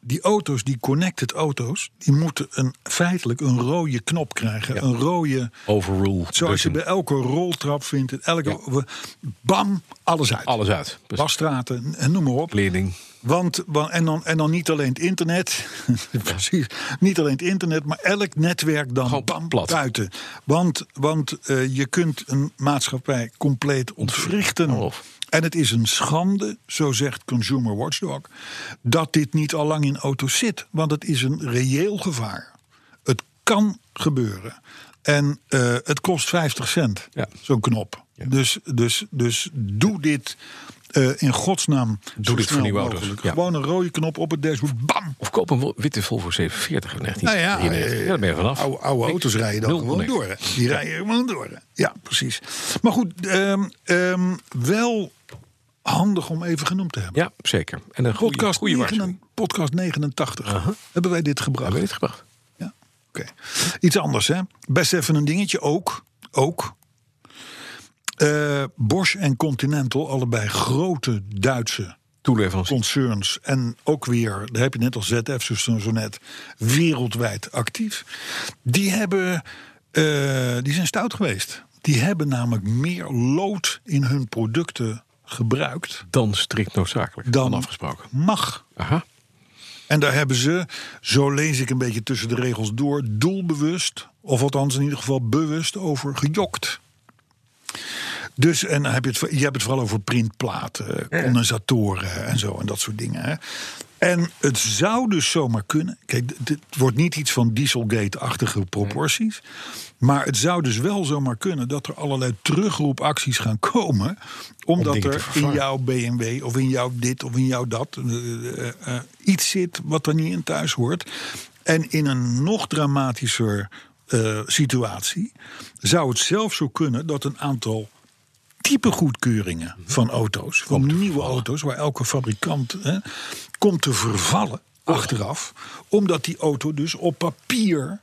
S3: die auto's, die connected auto's, die moeten een, feitelijk een rode knop krijgen. Een rode,
S2: Overrule.
S3: zoals je
S2: button.
S3: bij elke roltrap vindt, en elke, bam, alles uit.
S2: Alles uit. Precies.
S3: Wasstraten en noem maar op.
S2: Leerling.
S3: Want, wa- en, dan, en dan niet alleen het internet. Precies. Niet alleen het internet, maar elk netwerk dan
S2: Gewoon
S3: bam,
S2: plat.
S3: buiten. Want, want eh, je kunt een maatschappij compleet ontwrichten.
S2: Nou, of-
S3: En het is een schande, zo zegt Consumer Watchdog, dat dit niet al lang in auto's zit. Want het is een reëel gevaar. Het kan gebeuren. En eh, het kost 50 cent,
S2: Ja.
S3: zo'n knop. Dus, dus, dus doe dit eh, in godsnaam
S2: Doe dit voor nieuwe auto's,
S3: mogelijk.
S2: ja.
S3: Gewoon een rode knop op het dashboard. Bam!
S2: Of koop een wo- witte Volvo 740 uit
S3: Nou ja,
S2: 1993.
S3: eh,
S2: ja, daar ben je vanaf.
S3: Oude, oude
S2: Niks.
S3: auto's rijden dan
S2: Nul
S3: gewoon
S2: niks.
S3: door. hè. Die rijden gewoon door. hè. Ja, precies. Maar goed, ehm, ehm, wel handig om even genoemd te hebben.
S2: Ja, zeker. En een goede,
S3: podcast,
S2: goede
S3: 89
S2: waarschuwing.
S3: podcast 89 hebben wij dit gebracht.
S2: Hebben we dit gebracht?
S3: Ja, oké. Iets anders, hè? Best even een dingetje ook. Ook. Eh, Bosch en Continental, allebei grote Duitse
S2: Toeleverancier.
S3: concerns. En ook weer, daar heb je net al ZF zo, zo net, wereldwijd actief. Die, hebben, eh, die zijn stout geweest. Die hebben namelijk meer lood in hun producten gebruikt
S2: Dan strikt noodzakelijk. Dan,
S3: Dan-
S2: afgesproken.
S3: mag.
S2: Aha.
S3: En daar hebben ze, zo lees ik een beetje tussen de regels door, doelbewust, of althans in ieder geval bewust over gejokt. Dus en dan heb je, het, je hebt het vooral over printplaten, condensatoren en zo en dat soort dingen. Hè. En het zou dus zomaar kunnen. Kijk, d- dit wordt niet iets van Dieselgate-achtige proporties. Maar het zou dus wel zomaar kunnen dat er allerlei terugroepacties gaan komen. Omdat
S2: dingen te
S3: er in
S2: vervangen.
S3: jouw BMW of in jouw dit of in jouw dat eh, eh, eh, iets zit wat er niet in thuis hoort. En in een nog dramatischer eh, situatie zou het zelfs zo kunnen dat een aantal type goedkeuringen
S2: Mhm.
S3: van auto's, van nieuwe auto's, waar elke fabrikant hè, komt te vervallen
S2: Oh.
S3: achteraf, omdat die auto dus op papier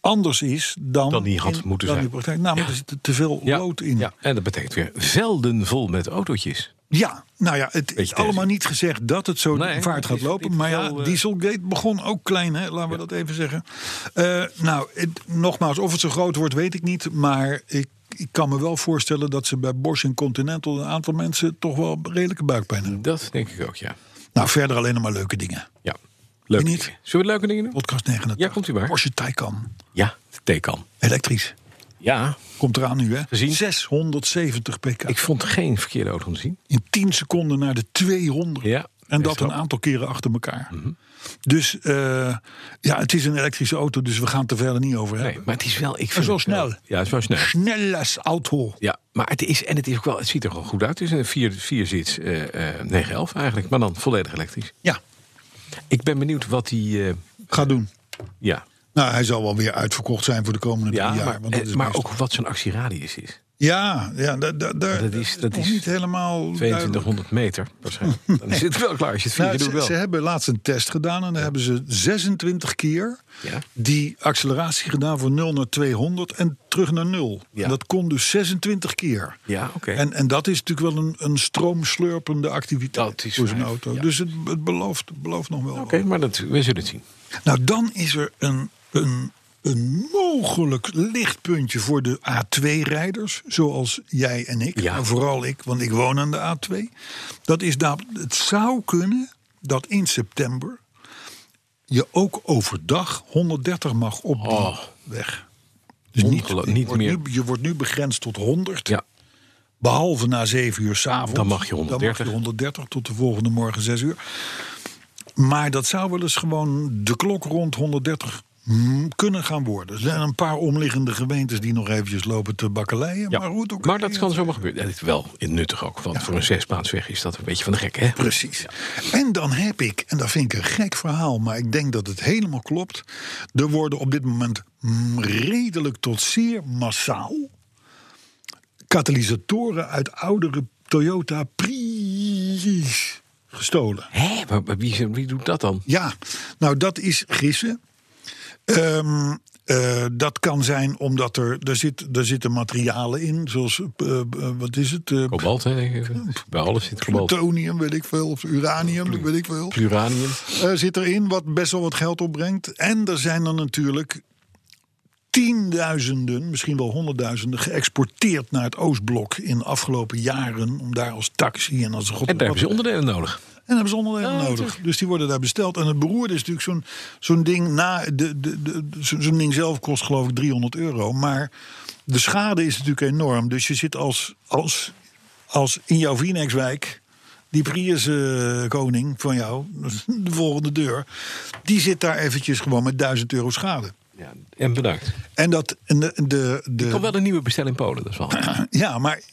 S3: anders is dan,
S2: Dan die had
S3: in-
S2: moeten
S3: dan
S2: zijn.
S3: die praktijk. Namelijk
S2: Ja.
S3: er zit te veel
S2: Ja.
S3: lood in.
S2: Ja. En dat betekent weer velden vol met autootjes.
S3: Ja, nou ja, het is
S2: Beetje
S3: allemaal
S2: deze.
S3: niet gezegd dat het zo
S2: Nee,
S3: vaart
S2: het
S3: gaat
S2: is
S3: lopen.
S2: niet
S3: Maar ja,
S2: veel, eh,
S3: Dieselgate begon ook klein, hè? laten we dat even zeggen. Eh, nou, het- nogmaals, of het zo groot wordt, weet ik niet. Maar ik, ik kan me wel voorstellen dat ze bij Bosch en Continental... een aantal mensen toch wel redelijke buikpijn hebben.
S2: Dat denk ik ook, ja.
S3: Nou, verder alleen nog maar leuke dingen.
S2: Ja. Leuk.
S3: Niet?
S2: Zullen we leuke dingen doen?
S3: Podcast 89.
S2: Ja, komt u maar.
S3: Porsche Taycan,
S2: Ja, de Taycan.
S3: elektrisch.
S2: Ja,
S3: Komt eraan nu, hè?
S2: Gezien.
S3: 670 pk.
S2: ik vond geen verkeerde auto om te zien.
S3: In 10 seconden naar de 200.
S2: Ja,
S3: En dat een aantal keren achter elkaar.
S2: Mhm.
S3: Dus eh, ja, het is een elektrische auto, dus we gaan het er verder niet over hebben.
S2: Nee, maar het is wel. Ik
S3: En
S2: vind
S3: zo
S2: het wel-
S3: snel.
S2: Ja, het is wel snel.
S3: Snelles auto.
S2: Ja, maar het is, en het is ook wel, het ziet er gewoon goed uit. Het is een vier, vier zits eh eh, 911 eigenlijk, maar dan volledig elektrisch.
S3: Ja,
S2: Ik ben benieuwd wat die, eh,
S3: ga doen.
S2: ja,
S3: Nou, hij zal wel weer uitverkocht zijn voor de komende
S2: ja,
S3: drie jaar.
S2: maar,
S3: want dat
S2: eh,
S3: is
S2: maar
S3: best-
S2: ook wat zijn actieradius is.
S3: Ja, ja da, da, da-
S2: Dat is- dat
S3: nog
S2: is
S3: niet helemaal... duidelijk.
S2: 2200 meter waarschijnlijk. Dan is het wel klaar als je het vier
S3: Nou,
S2: keer doet
S3: ze,
S2: wel.
S3: ze hebben laatst een test gedaan en daar hebben ze 26 keer
S2: Ja.
S3: die acceleratie gedaan van 0 naar 200 en terug naar 0.
S2: Ja.
S3: En dat kon dus 26 keer.
S2: Ja, oké.
S3: En, en dat is natuurlijk wel een, een stroomslurpende activiteit
S2: Dat is
S3: voor zo'n
S2: waar,
S3: auto.
S2: ja.
S3: Dus het, het belooft, het belooft nog wel.
S2: Oké, maar dat, we zullen het zien.
S3: Nou, dan is er een, een, een mogelijk lichtpuntje voor de A2-rijders, zoals jij en ik,
S2: Ja.
S3: maar vooral ik, want ik woon aan de A2. Dat is daar, het zou kunnen dat in september je ook overdag 130 mag op die
S2: Oh.
S3: weg. Dus niet,
S2: Ongelo-
S3: je
S2: niet
S3: wordt
S2: meer.
S3: Nu, je wordt nu begrensd tot 100.
S2: Ja,
S3: Behalve na 7 uur s'avonds.
S2: Dan mag je 130.
S3: 130 tot de volgende morgen 6 uur. Maar dat zou wel eens gewoon de klok rond 130 mm, kunnen gaan worden. Er zijn een paar omliggende gemeentes die nog eventjes lopen te bakkeleien.
S2: ja.
S3: Maar, hoe het ook
S2: dat kan zomaar gebeuren. Dat is wel nuttig ook, want voor een zesbaansweg is dat een beetje van de gek, hè?
S3: Precies. En dan heb ik, en dat vind ik een gek verhaal, maar ik denk dat het helemaal klopt. Er worden op dit moment mm, redelijk tot zeer massaal katalysatoren uit oudere Toyota Prius gestolen.
S2: Hé, maar maar wie, wie doet dat dan?
S3: Ja, nou dat is gissen. Ehm, eh, dat kan zijn omdat er, er, zit, er zitten materialen in, zoals, eh, eh, wat is het? Eh,
S2: Kobalt, hè? denk ik. Bij alles zit kobalt.
S3: plutonium, weet ik veel, of uranium, weet ik veel.
S2: Pluranium.
S3: Eh, zit erin wat best wel wat geld opbrengt. En er zijn er natuurlijk tienduizenden, misschien wel honderdduizenden... geëxporteerd naar het Oostblok in de afgelopen jaren... om daar als taxi en als... God
S2: En daar hebben ze onderdelen nodig.
S3: en hebben ze onderdelen nodig. Dus die worden daar besteld. En het beroerde is natuurlijk zo'n zo'n ding na. De, de, de, de- zo- zo'n ding zelf kost geloof ik 300 euro. Maar de schade is natuurlijk enorm. Dus je zit als, als, als in jouw Vienexwijk. Die Prius eh, koning van jou, de volgende deur. Die zit daar eventjes gewoon met 1000 euro schade.
S2: Ja, en bedankt.
S3: En dat. En de, de, de,
S2: Ik kan wel een nieuwe bestellen in Polen, dat is wel.
S3: ja, maar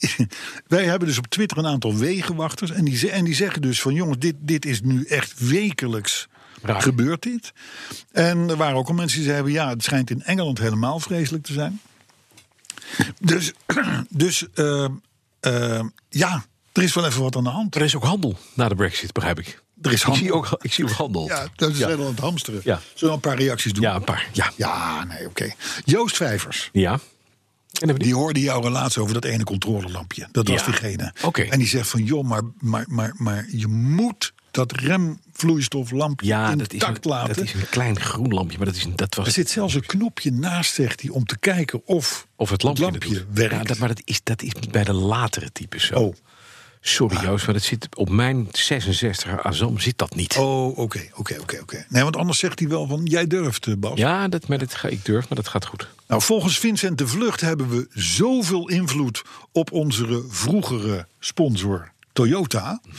S3: wij hebben dus op Twitter een aantal wegenwachters. En die, ze- en die zeggen dus van jongens, dit, dit is nu echt wekelijks
S2: Raar.
S3: gebeurt dit. En er waren ook al mensen die zeiden, ja, het schijnt in Engeland helemaal vreselijk te zijn. Dus, dus eh, eh, ja, er is wel even wat aan de hand.
S2: Er is ook handel na de Brexit, begrijp ik.
S3: Er is
S2: Ik
S3: handel.
S2: zie ook, ik zie ook handel.
S3: Ja, dat is
S2: ja.
S3: wel aan het hamsteren.
S2: Ja.
S3: Zullen we een paar reacties doen?
S2: Ja, een paar. Ja.
S3: Ja, nee, oké. Joost Vijvers.
S2: ja. En dan hebben we die.
S3: Die hoorde jouw relatie over dat ene controlelampje. Dat was
S2: Ja.
S3: diegene.
S2: Oké.
S3: En die zegt van, joh, maar, maar, maar, maar je moet dat remvloeistoflampje
S2: Ja, dat is, een,
S3: intact laten.
S2: dat is een klein groen lampje, maar dat, is, een- dat was.
S3: Er zit zelfs een knopje naast, zegt hij, om te kijken of,
S2: Of het lampje,
S3: het lampje
S2: het doet.
S3: werkt.
S2: Ja, dat, maar dat is, dat is bij de latere types zo.
S3: Oh.
S2: Sorry Joost, maar dat zit op mijn 66er Azam zit dat niet.
S3: Oh, oké, oké, oké, oké. Nee, want anders zegt hij wel van, jij durft, eh, Bas.
S2: Ja, dat, maar dat ga, ik durf, maar dat gaat goed.
S3: Nou, volgens Vincent de Vlucht hebben we zoveel invloed op onze vroegere sponsor Toyota...
S2: Mhm.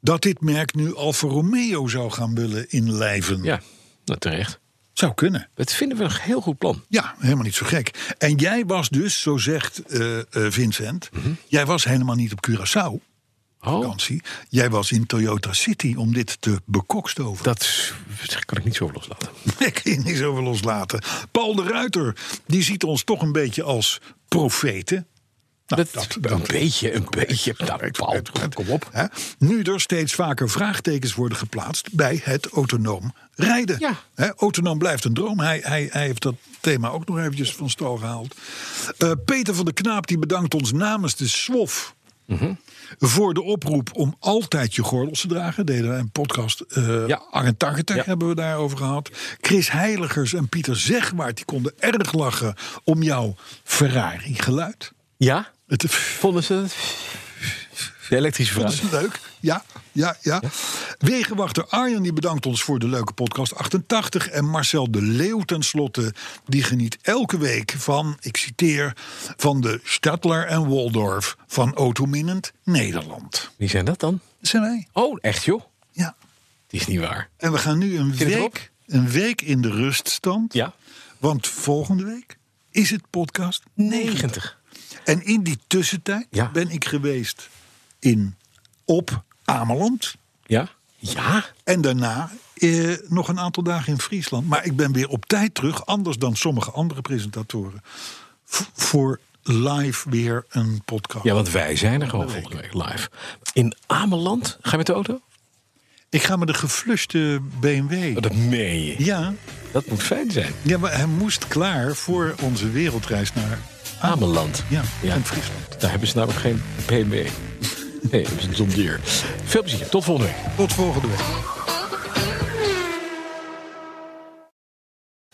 S3: dat dit merk nu Alfa Romeo zou gaan willen inlijven.
S2: Ja, nou, terecht.
S3: Zou kunnen.
S2: Dat vinden we een heel goed plan.
S3: Ja, helemaal niet zo gek. En jij was dus, zo zegt eh, eh, Vincent, jij was helemaal niet op Curaçao
S2: Mhm. Oh,
S3: vakantie. Jij was in Toyota City om dit te bekokstoven.
S2: dat is- dat kan ik niet zo loslaten.
S3: Daar kun je niks over loslaten. Paul de Ruiter, die ziet ons toch een beetje als profeten. Nou,
S2: dat, een beetje, een beetje. Nou, Paul, kom op.
S3: Hè? Nu er steeds vaker vraagtekens worden geplaatst bij het autonoom rijden.
S2: Ja.
S3: Hè? Autonoom blijft een droom. Hij, hij, hij heeft dat thema ook nog eventjes van stal gehaald. Eh, Peter van de Knaap die bedankt ons namens de SWOF.
S2: Mhm.
S3: Voor de oproep om altijd je gordels te dragen. Deden wij een podcast. eh
S2: Ja.
S3: 88
S2: Ja.
S3: hebben we daarover gehad. Chris Heiligers en Pieter Zegwaard. Die konden erg lachen om jouw Ferrari geluid.
S2: Ja?
S3: Het,
S2: Vonden ze dat? De elektrische
S3: dat
S2: vraag.
S3: is leuk. Ja, ja, ja. Wegenwachter Arjen die bedankt ons voor de leuke podcast 88. En Marcel de Leeuw tenslotte, die geniet elke week van, ik citeer, van de Stadler en Waldorf van Autominnend Nederland.
S2: Wie zijn dat dan?
S3: Dat zijn wij.
S2: Oh, echt joh?
S3: Ja.
S2: Die is niet waar.
S3: En we gaan nu een
S2: Zit het erop?
S3: week, een week in de ruststand.
S2: Ja.
S3: Want volgende week is het podcast 90.
S2: 90.
S3: En in die tussentijd
S2: Ja.
S3: ben ik geweest in, op Ameland.
S2: Ja? Ja?
S3: En daarna eh, nog een aantal dagen in Friesland. Maar ik ben weer op tijd terug, anders dan sommige andere presentatoren. v- voor live weer een podcast.
S2: Ja, want wij zijn er gewoon volgende week live. In Ameland. Ga je met de auto?
S3: Ik ga met de gefluste BMW.
S2: Oh, dat meen je.
S3: Ja,
S2: Dat moet fijn zijn.
S3: ja, maar hij moest klaar voor onze wereldreis naar
S2: Ameland.
S3: ja,
S2: Ja.
S3: en Friesland.
S2: Daar hebben ze namelijk geen BMW. Nee, dat is een John Deere. Veel plezier. Tot volgende week.
S3: Tot volgende week.